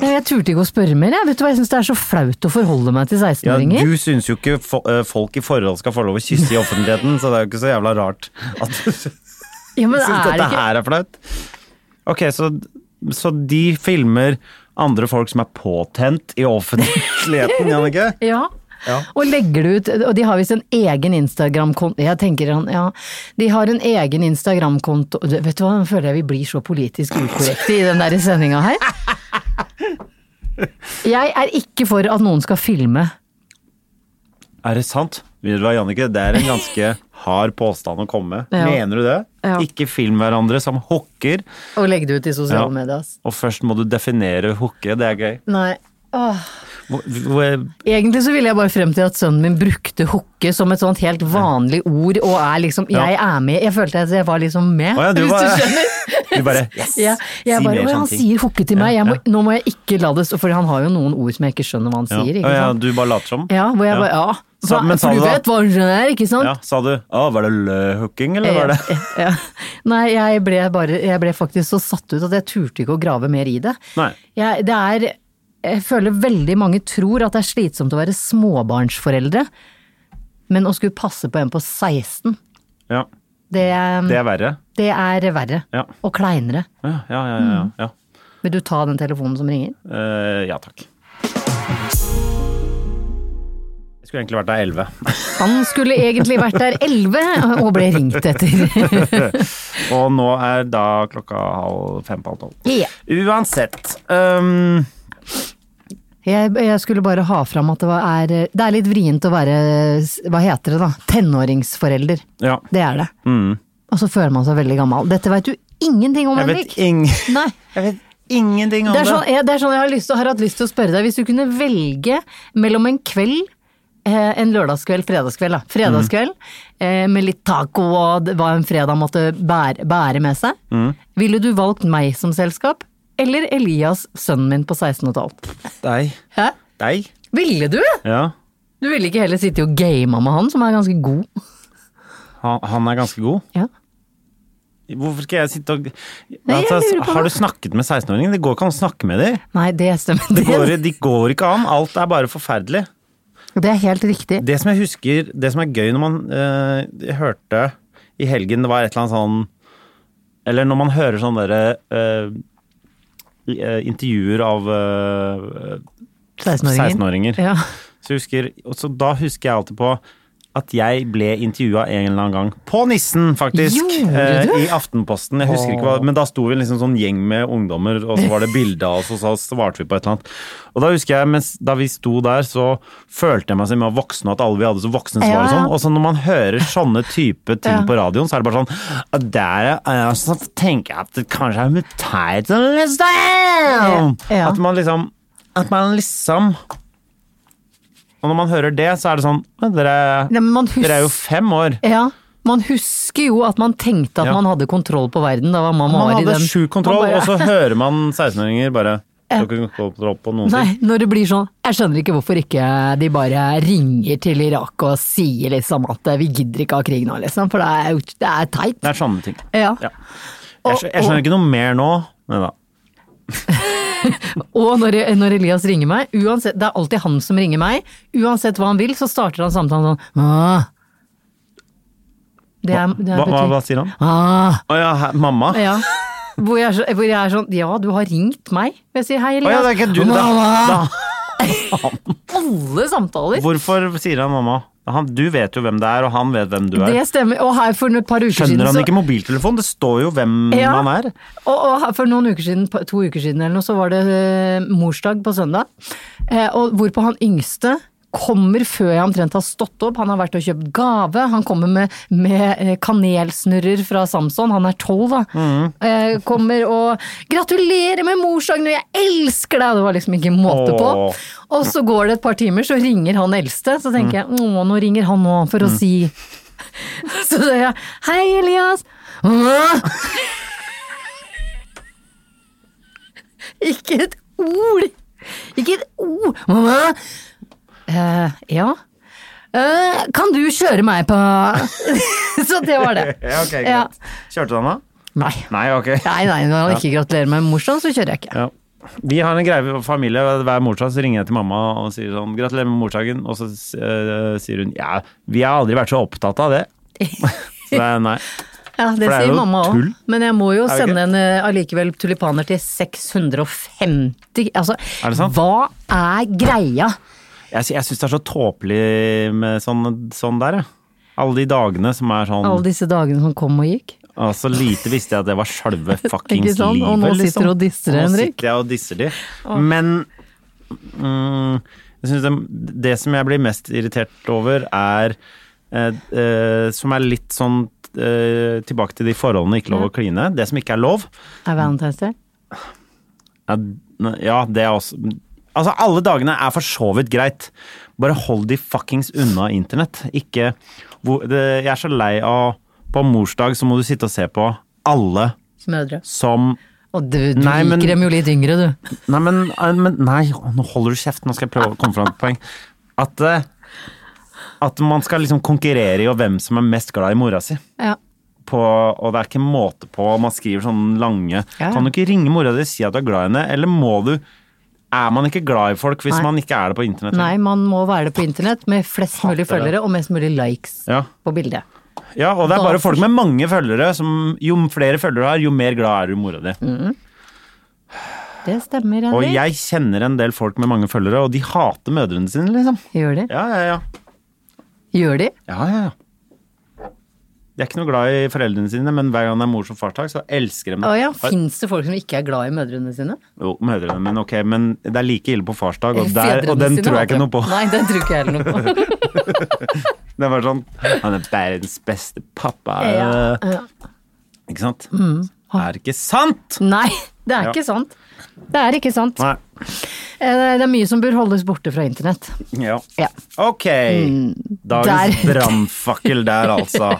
Jeg turte ikke å spørre mer, jeg. Vet du hva, jeg syns det er så flaut å forholde meg til Ja, 16-åringer. du syns jo ikke fo- eh, folk i forhold skal få lov å kysse i offentligheten, så det er jo ikke så jævla rart at du syns Ja, men er det dette ikke her er flaut. Ok, så, så de filmer andre folk som er påtent i offentligheten, Jannicke? Ja. Ja. Og legger det ut, og de har visst en egen Instagram-konto Jeg tenker han, ja De har en egen Instagram-konto Du, Vet du hva, nå føler jeg vi blir så politisk ukorrekte i den der sendinga her. Jeg er ikke for at noen skal filme. Er det sant? Vet du hva, Jannicke, det er en ganske hard påstand å komme med. Ja. Mener du det? Ja. Ikke film hverandre som hooker, Og legge det ut i sosiale Ja. medier. ass. og først må du definere hooke, det er gøy. Nei. Åh. Hvor, hvor, Egentlig så ville jeg bare frem til at sønnen min brukte hooke som et sånt helt vanlig ord, og er liksom Ja. Jeg er med. Jeg følte at jeg var liksom med, Å ja, du hvis bare- du skjønner. du bare yes, Ja, jeg si bare, mer «Å, sånne han ting. sier hooke til meg, Ja, jeg må, ja. nå må jeg ikke la det stå, for han har jo noen ord som jeg ikke skjønner hva han sier, Å ikke ja, sant. du bare later som? Ja, hvor jeg bare ja. Sa- men Hva, sa for du du da- vet hva han skjønner, ikke sant? Ja, sa du å, var det lø-hooking, eller var det Ja, ja. Nei, jeg ble, bare, jeg ble faktisk så satt ut at jeg turte ikke å grave mer i det. Nei. Jeg, det er, jeg føler veldig mange tror at det er slitsomt å være småbarnsforeldre, men å skulle passe på en på 16, Ja, det, det det, er verre. er verre. Ja. Og kleinere. Ja, ja, ja. ja, Mm. ja. Vil du ta den telefonen som ringer? Eh, ja takk. Jeg skulle egentlig vært der elleve. Han skulle egentlig vært der 11 og ble ringt etter. Og nå er da klokka halv fem på halv tolv. Ja. Uansett. ehm, Jeg, jeg skulle bare ha fram at det var, er Det er litt vrient å være, hva heter det da, tenåringsforelder. ja. Det er det. Og så føler man seg veldig gammel. Dette veit du ingenting om, Mm. Jeg Henrik. vet, ing Nei. jeg vet ingenting om Det det. er, sånn, jeg, det er sånn jeg har, lyst, til- har hatt lyst til å spørre deg, hvis du kunne velge mellom en kveld, eh, en lørdagskveld, fredagskveld, da. fredagskveld eh, med litt taco og d- hva en fredag måtte bære, bære med seg, Mm. ville du valgt meg som selskap eller Elias, sønnen min på 16 12? Deg. Hæ? Deg? Ville du? Ja. Du ville ikke heller sitte og game med han, som er ganske god. Han, han er ganske god. Ja. Hvorfor skal jeg sitte og Nei, jeg altså, lurer på Har det. du snakket med 16-åringer? Det går ikke an å snakke med dem. Nei, det stemmer. Det går, de går ikke an. Alt er bare forferdelig. det er helt riktig. Det som jeg husker, det som er gøy når man eh, jeg hørte i helgen Det var et eller annet sånn Eller når man hører sånne derre eh, i- eh, intervjuer av eh, 16-åringen. 16-åringer. Ja. Så jeg husker, og så da husker jeg alltid på at jeg ble intervjua en eller annen gang. På Nissen, faktisk! eh, Gjorde du? I Aftenposten. jeg husker ikke hva, Men da sto vi liksom sånn gjeng med ungdommer, og så var det bilde av oss, og så svarte vi på et eller annet. Og da husker jeg, mens, da vi sto der, så følte jeg meg som jeg var voksen, og at alle vi hadde så voksne svar og Ja, ja. sånn. Og så når man hører sånne type ting Ja. på radioen, så er det bare sånn «Ah, Der er jeg, så tenker jeg at det kanskje er sånn.» muteit Ja, ja. At man liksom At man liksom Og når man hører det, så er det sånn «Men Dere, Nei, men man dere er jo hus- fem år. Ja, man husker jo at man tenkte at Ja. man hadde kontroll på verden da var mamma Man var i den. hadde sjuk kontroll, Man bare- og så hører man 16-åringer bare Dere har ikke kontroll på noen ting. Nei, når det blir sånn Jeg skjønner ikke hvorfor ikke de bare ringer til Irak og sier liksom at eh, vi gidder ikke ha krig nå, liksom, for det er, jo- det er teit. Det er sånne ting. Ja. Ja. Jeg, skj- jeg skjønner ikke noe mer nå. Nei da. Og når, når Elias ringer meg, uansett, det er alltid han som ringer meg, uansett hva han vil, så starter han samtalen sånn «Åh». Det, er, det er Hva, hva, betyr- hva sier han? «Åh». Å ja, hæ, mamma? Å ja, Ja. Hvor jeg, er så- hvor jeg er sånn Ja, du har ringt meg. Jeg sier hei, Elias. det er ikke du, da. Mamma! da. Alle samtaler. Hvorfor sier han mamma? Han, du vet jo hvem det er, og han vet hvem du er. Det stemmer. Og her for et par uker siden Skjønner han så- ikke mobiltelefon? Det står jo hvem Ja. man er. Og, og her for noen uker siden, på- to uker siden eller noe, så var det eh, morsdag på søndag. Eh, og hvorpå han yngste kommer før jeg omtrent har stått opp. Han har vært og kjøpt gave. Han kommer med, med eh, kanelsnurrer fra Samson. Han er tolv, da. Mm. Eh, kommer og 'gratulerer med morsdagen, og jeg elsker deg'! Det var liksom ikke måte på. Åh. Og så går det et par timer, så ringer han eldste. Så tenker jeg 'å, nå ringer han nå for å si' Så sier jeg 'hei, Elias'. Åh! Ikke et ord! Ikke et ord! Mamma! Eh, ja? Eh, kan du kjøre meg på Så det var det. Ja, ok, greit. Ja. Kjørte han da? Nei. Nei, ok. Nei, nei, når han ikke gratulerer med morsdagen, så kjører jeg ikke. Ja. Vi har en greie i familie. Hver morsdag så ringer jeg til mamma og sier sånn 'Gratulerer med morsdagen', og så eh, sier hun 'Ja, vi har aldri vært så opptatt av det'. Så det er nei. Ja, Det For det er sier jo mamma òg. tull. Men jeg må jo det sende en eh, allikevel tulipaner til 650 Altså, Er det sant? hva er greia? Jeg, sy- jeg syns det er så tåpelig med sånn, sånn der, jeg. Alle de dagene som er sånn Alle disse dagene som kom og gikk? Altså, lite visste jeg at det var selve Ikke fuckings sant? livet, liksom. Og nå sitter du og disser det, Og Nå Henrik. sitter jeg og disser de. Men mm, jeg synes det, det som jeg blir mest irritert over, er eh, eh, Som er litt sånn eh, tilbake til de forholdene ikke lov å kline. Det som ikke er lov. Er Valentine's Day? Ja, n- ja, det er også Altså, alle dagene er for så vidt greit. Bare hold de fuckings unna internett. Ikke hvor, det, Jeg er så lei av På morsdag så må du sitte og se på alle Mødre. som Og du, du Nei, men- liker dem jo litt yngre, du. Nei, men, eh, men Nei, nå holder du kjeft. Nå skal jeg prøve å komme fram til et poeng. At, eh, at man skal liksom konkurrere i å hvem som er mest glad i mora si. Ja. På, og det er ikke måte på. Man skriver sånne lange Ja. Kan du ikke ringe mora di og si at du er glad i henne? Eller må du Er man ikke glad i folk hvis Nei. man ikke er det på internett? Nei, man må være det på internett med flest mulig Hater det. følgere og mest mulig likes Ja. på bildet. ja, og det er Da- bare folk med mange følgere som Jo flere følgere du har, jo mer glad er du i mora di. Mm. Det stemmer, Og Henrik. jeg kjenner en del folk med mange følgere, og de hater mødrene sine, liksom. Gjør de? Ja, ja, ja. Gjør de? Ja, ja, ja. De er ikke noe glad i foreldrene sine, men hver gang det er mors- og farsdag, så elsker de det. Å ja, Har- fins det folk som ikke er glad i mødrene sine? Jo, mødrene, men ok, men det er like ille på farsdag, og, der, Eh, Fedrene og den sine, tror jeg altså. ikke noe på. Nei, den tror ikke jeg heller noe på. Den var sånn Han er verdens beste pappa. Ja, ja. Mm. Ikke sant? Er ikke sant! Nei, det er Ja. ikke sant. Det er ikke sant. Nei. Eh, Det er mye som bør holdes borte fra internett. Ja. Ja. Ok. Mm. Dagens der. brannfakkel der, altså.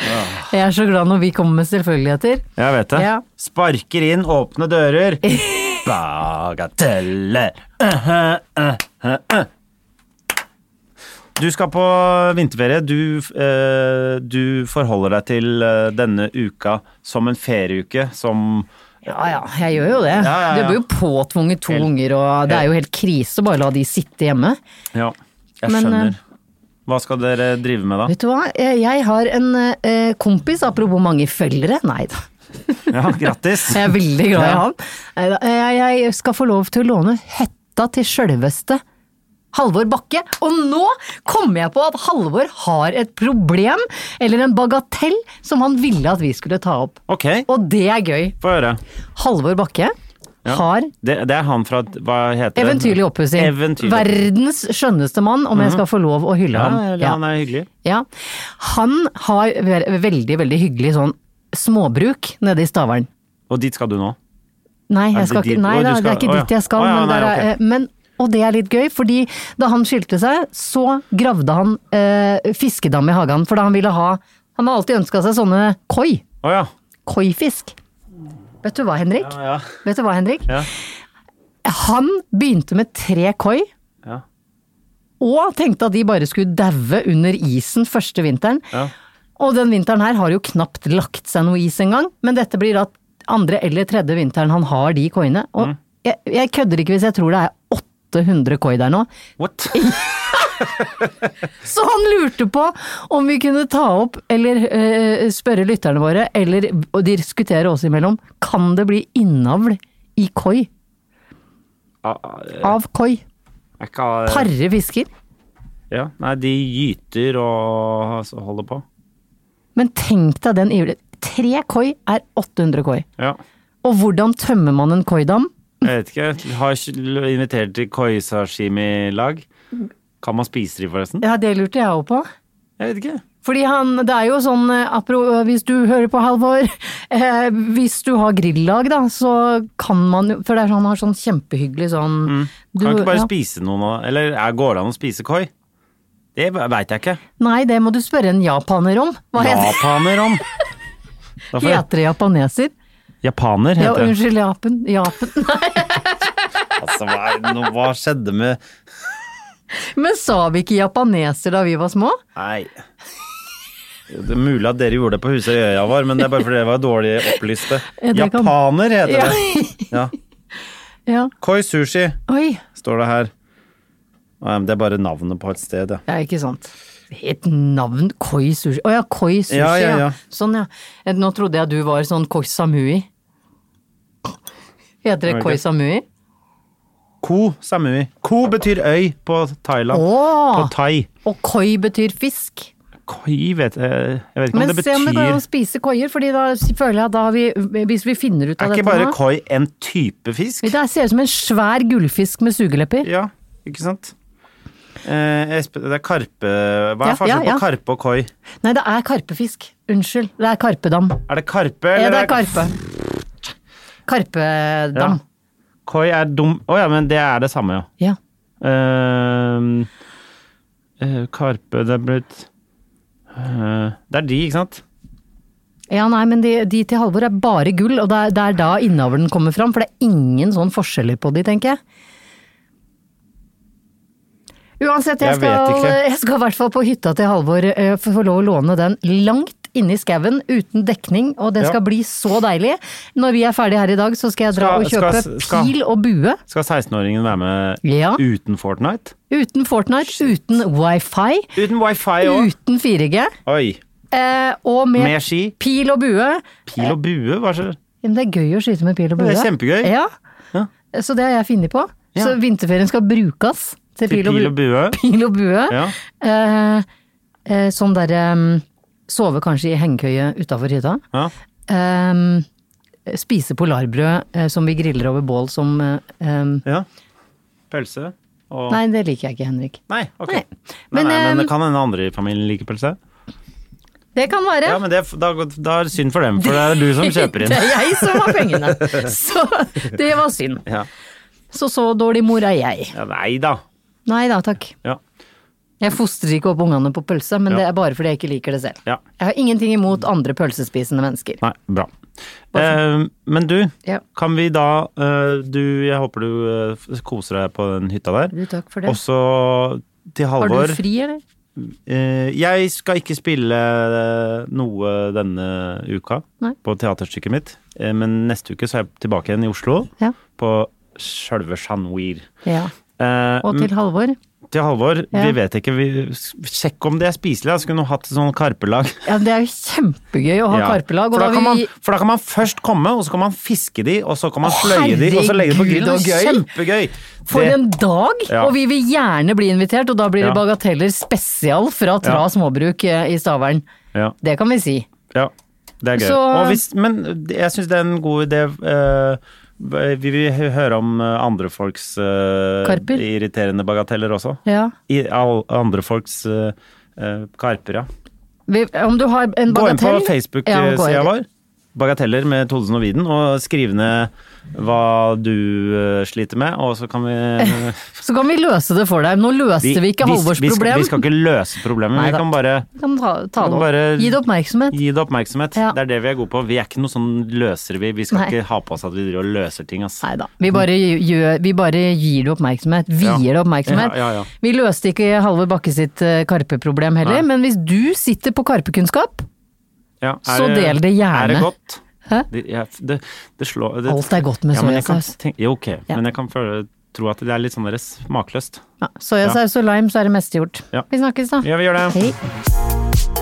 Jeg er så glad når vi kommer med selvfølgeligheter. Jeg vet det. Ja. Sparker inn åpne dører. Bagateller. Uh-huh, uh-huh, uh. Du skal på vinterferie. Du, eh, du forholder deg til eh, denne uka som en ferieuke som Ja ja, jeg gjør jo det. Ja, ja, ja. Du blir jo påtvunget to Helt- unger, og det er jo helt krise å bare la de sitte hjemme. Ja, jeg Men, skjønner. eh, Hva skal dere drive med, da? Vet du hva, Eh, jeg har en eh, kompis, apropos mange følgere, nei da, Ja, Grattis! jeg er veldig glad i Ja. han. Neida, eh, Jeg skal få lov til å låne hetta til sjølveste Halvor Bakke. Og nå kommer jeg på at Halvor har et problem, eller en bagatell, som han ville at vi skulle ta opp. Ok, Og det er gøy. få høre. Halvor Bakke Ja. har Det, det er han fra Hva heter det? eventyrlig oppussing. Eventyrlig. Mhm. Verdens skjønneste mann, om jeg skal få lov å hylle Ja, ham. eller han er hyggelig. Ja. Han har ve- veldig, veldig hyggelig sånn småbruk nede i Stavern. Og dit skal du nå? Nei, Er jeg det skal dit- ikke, nei Å, du da, det er skal- ikke å, ja. dit jeg skal, Å, ja, men, nei, der, ok. er- eh, men Og det er litt gøy, fordi da han skilte seg, så gravde han eh, fiskedam i hagen. For da han ville ha Han har alltid ønska seg sånne koi. Å ja. Koifisk. Vet du hva, Henrik? Ja, ja. Vet du hva, Henrik? Ja. Han begynte med tre koi. Ja. Og tenkte at de bare skulle daue under isen første vinteren. Ja. Og den vinteren her har jo knapt lagt seg noe is engang, men dette blir da andre eller tredje vinteren han har de koiene. Og jeg, jeg kødder ikke hvis jeg tror det er 800 koi der nå. What? Så han lurte på om vi kunne ta opp, eller eh, spørre lytterne våre, eller og diskutere oss imellom, kan det bli innavl i koi? Av koi? Jeg kan- Pare fisker? Ja, nei, de gyter og altså, holder på. Men tenk deg den ivlen. Tre koi er 800 koi. Ja. Og hvordan tømmer man en koidam? Jeg vet ikke. Har ikke invitert til koi-sashimi-lag. Kan man spise de, forresten? Ja, det lurte jeg òg på. Jeg vet ikke. Fordi han, det er jo sånn, eh, apro, hvis du hører på Halvor, eh, hvis du har grillag da, så kan man jo, for det er sånn, han har sånn kjempehyggelig sånn. Kan du- ikke bare ja. spise noen av Eller er- går det an å spise koi? Det veit jeg ikke. Nei, det må du spørre en japaner om. Hva heter, Japaner om! Da får jeg- heter det japaneser? Japaner Ja, heter det. unnskyld, Japan. Japan. Altså, hva, er- nå, hva skjedde med Men sa vi ikke japaneser da vi var små? Nei. Det er mulig at dere gjorde det på huset i øya vår, men det er bare fordi det var dårlig opplyste. Ja, det kan- Japaner heter Ja. det. Ja. Ja. Koi sushi Oi, står det her. Nei, men Det er bare navnet på et sted, ja. det er ikke sant. Et navn, koi sushi. Å ja, koi sushi, ja, Ja, ja, ja. Sånn, ja. Eh, Nå trodde jeg du var sånn koi samui. Heter det Ok. koi samui? Ko samui. Ko betyr øy på Thailand. På Åh, thai. og koi betyr fisk. Koi vet jeg Jeg vet ikke Men om det se om det går an å betyr spise koier, fordi da føler jeg at da har vi, hvis vi finner ut av Er dette ikke bare nå- koi en type fisk? Det ser ut som en svær gullfisk med sugelepper. Ja, ikke sant? Eh, Espen, det er karpe Hva Ja, er ja, forskjellen ja. på karpe og koi? Nei, det er karpefisk. Unnskyld, det er karpedam. Er det karpe? Ja, det eller er karpe. Karpedam. Koi er dum Å ja, men det er det samme, ja. Ja. Ehm, eh, karpe Det er blitt eh, Det er de, ikke sant? Ja, nei, men de, de til Halvor er bare gull, og det er, det er da innavlen kommer fram, for det er ingen sånn forskjeller på de, tenker jeg. Uansett, jeg, Jeg vet skal, ikke. jeg skal i hvert fall på hytta til Halvor eh, for å få lov å låne den langt inne i skauen, uten dekning, og det Ja. skal bli så deilig. Når vi er ferdige her i dag, så skal jeg dra Skal- og kjøpe skal- skal- pil og bue. Skal 16-åringen være med Ja. uten Fortnite? Uten Fortnite, uten wifi, Uten wifi òg? uten 4G, Oi. eh, og med, Med ski? pil og bue. Pil og bue? Hva skjer? Men det er gøy å skyte med pil og bue. Det er kjempegøy. Ja. Ja. Så det har jeg funnet på. Ja. Så vinterferien skal brukes til Til pil og, pil og bue. bue? Pil og bue. Ja. Eh, eh, sånn derre Sove kanskje i hengekøye utafor hytta. ja. Eh, spise polarbrød eh, som vi griller over bål som eh, eh, ja. Pølse? Og Nei, det liker jeg ikke, Henrik. Nei, ok. Nei. Nei. Men, Men, nei, men ehm, det kan hende andre i familien liker pølse? Det kan være. Ja, men det, da, da er det synd for dem, for det er du som kjøper inn. Det er jeg som har pengene! Så det var synd. Ja. Så så dårlig mor er jeg. Ja, nei da. Nei da, takk. Ja. Jeg fostrer ikke opp ungene på pølse, men Ja. det er bare fordi jeg ikke liker det selv. Ja. Jeg har ingenting imot andre pølsespisende mennesker. Nei, bra. Eh, men du, Ja. kan vi da eh, Du, jeg håper du eh, koser deg på den hytta der. Du, takk for det. Også til Har Halvor. du fri, eller? Eh, jeg skal ikke spille eh, noe denne uka Nei. på teaterstykket mitt, eh, men neste uke så er jeg tilbake igjen i Oslo, Ja. på sjølve Chat Noir. Ja. Eh, Og til Halvor. til Halvor, Ja. vi vet ikke. Vi, sjekk om det er spiselig. da. Skulle hun hatt et sånn karpelag. Ja, det er jo kjempegøy å ha Ja. karpelag. Og For da, da kan man, vi... for da kan man først komme, og så kan man fiske de, og så kan man sløye de, og så legge de på herregud, grillen. Det er og Kjempegøy! For Det- en dag! Ja. Og vi vil gjerne bli invitert, og da blir det Ja. bagateller spesial fra Tra Ja. småbruk eh, i Stavern. ja, Det kan vi si. ja, det er gøy. Så- Og hvis, men jeg syns det er en god idé eh, Vi vil hø- høre om eh, andre folks eh, Karper? irriterende bagateller også. Ja. I, all, andre folks eh, eh, karper, ja. Vi, om du har en Gå inn eh, bagatell på Facebook-sida gå inn. vår. bagateller med Thodesen og Widen, og skrive ned hva du eh, sliter med, og så kan vi Så kan vi løse det for deg. Nå løste vi, ikke Halvors vi, skal- problem. vi skal ikke løse problemet, Nei vi da. kan bare Vi kan ta, ta kan det opp. bare- Gi det oppmerksomhet. gi det oppmerksomhet. Ja. Det er det vi er gode på. Vi er ikke noe sånn løser vi. Vi skal Nei. ikke ha på oss at vi driver og løser ting, ass. Nei da. Vi bare, gjør, vi bare gir det oppmerksomhet. Ja. Vier det oppmerksomhet. Ja, ja, ja. Vi løste ikke Halvor Bakke sitt eh, Karpe-problem heller, Nei. men hvis du sitter på Karpekunnskap, Ja, Så del det gjerne. Er det godt? Hæ? Det, ja, det, det slår det, Alt er godt med ja, men jeg kan sojasaus. tenke- Jo, ok, Ja. men jeg kan føle, tro at det er litt sånn deres smakløst. ja, soyasaus og lime, så er det meste gjort. Ja. Vi snakkes da. Ja, vi gjør det. Hei.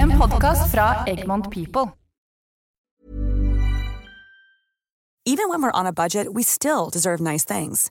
En podkast fra Egmont People. Even when we're on a budget, we still deserve nice things.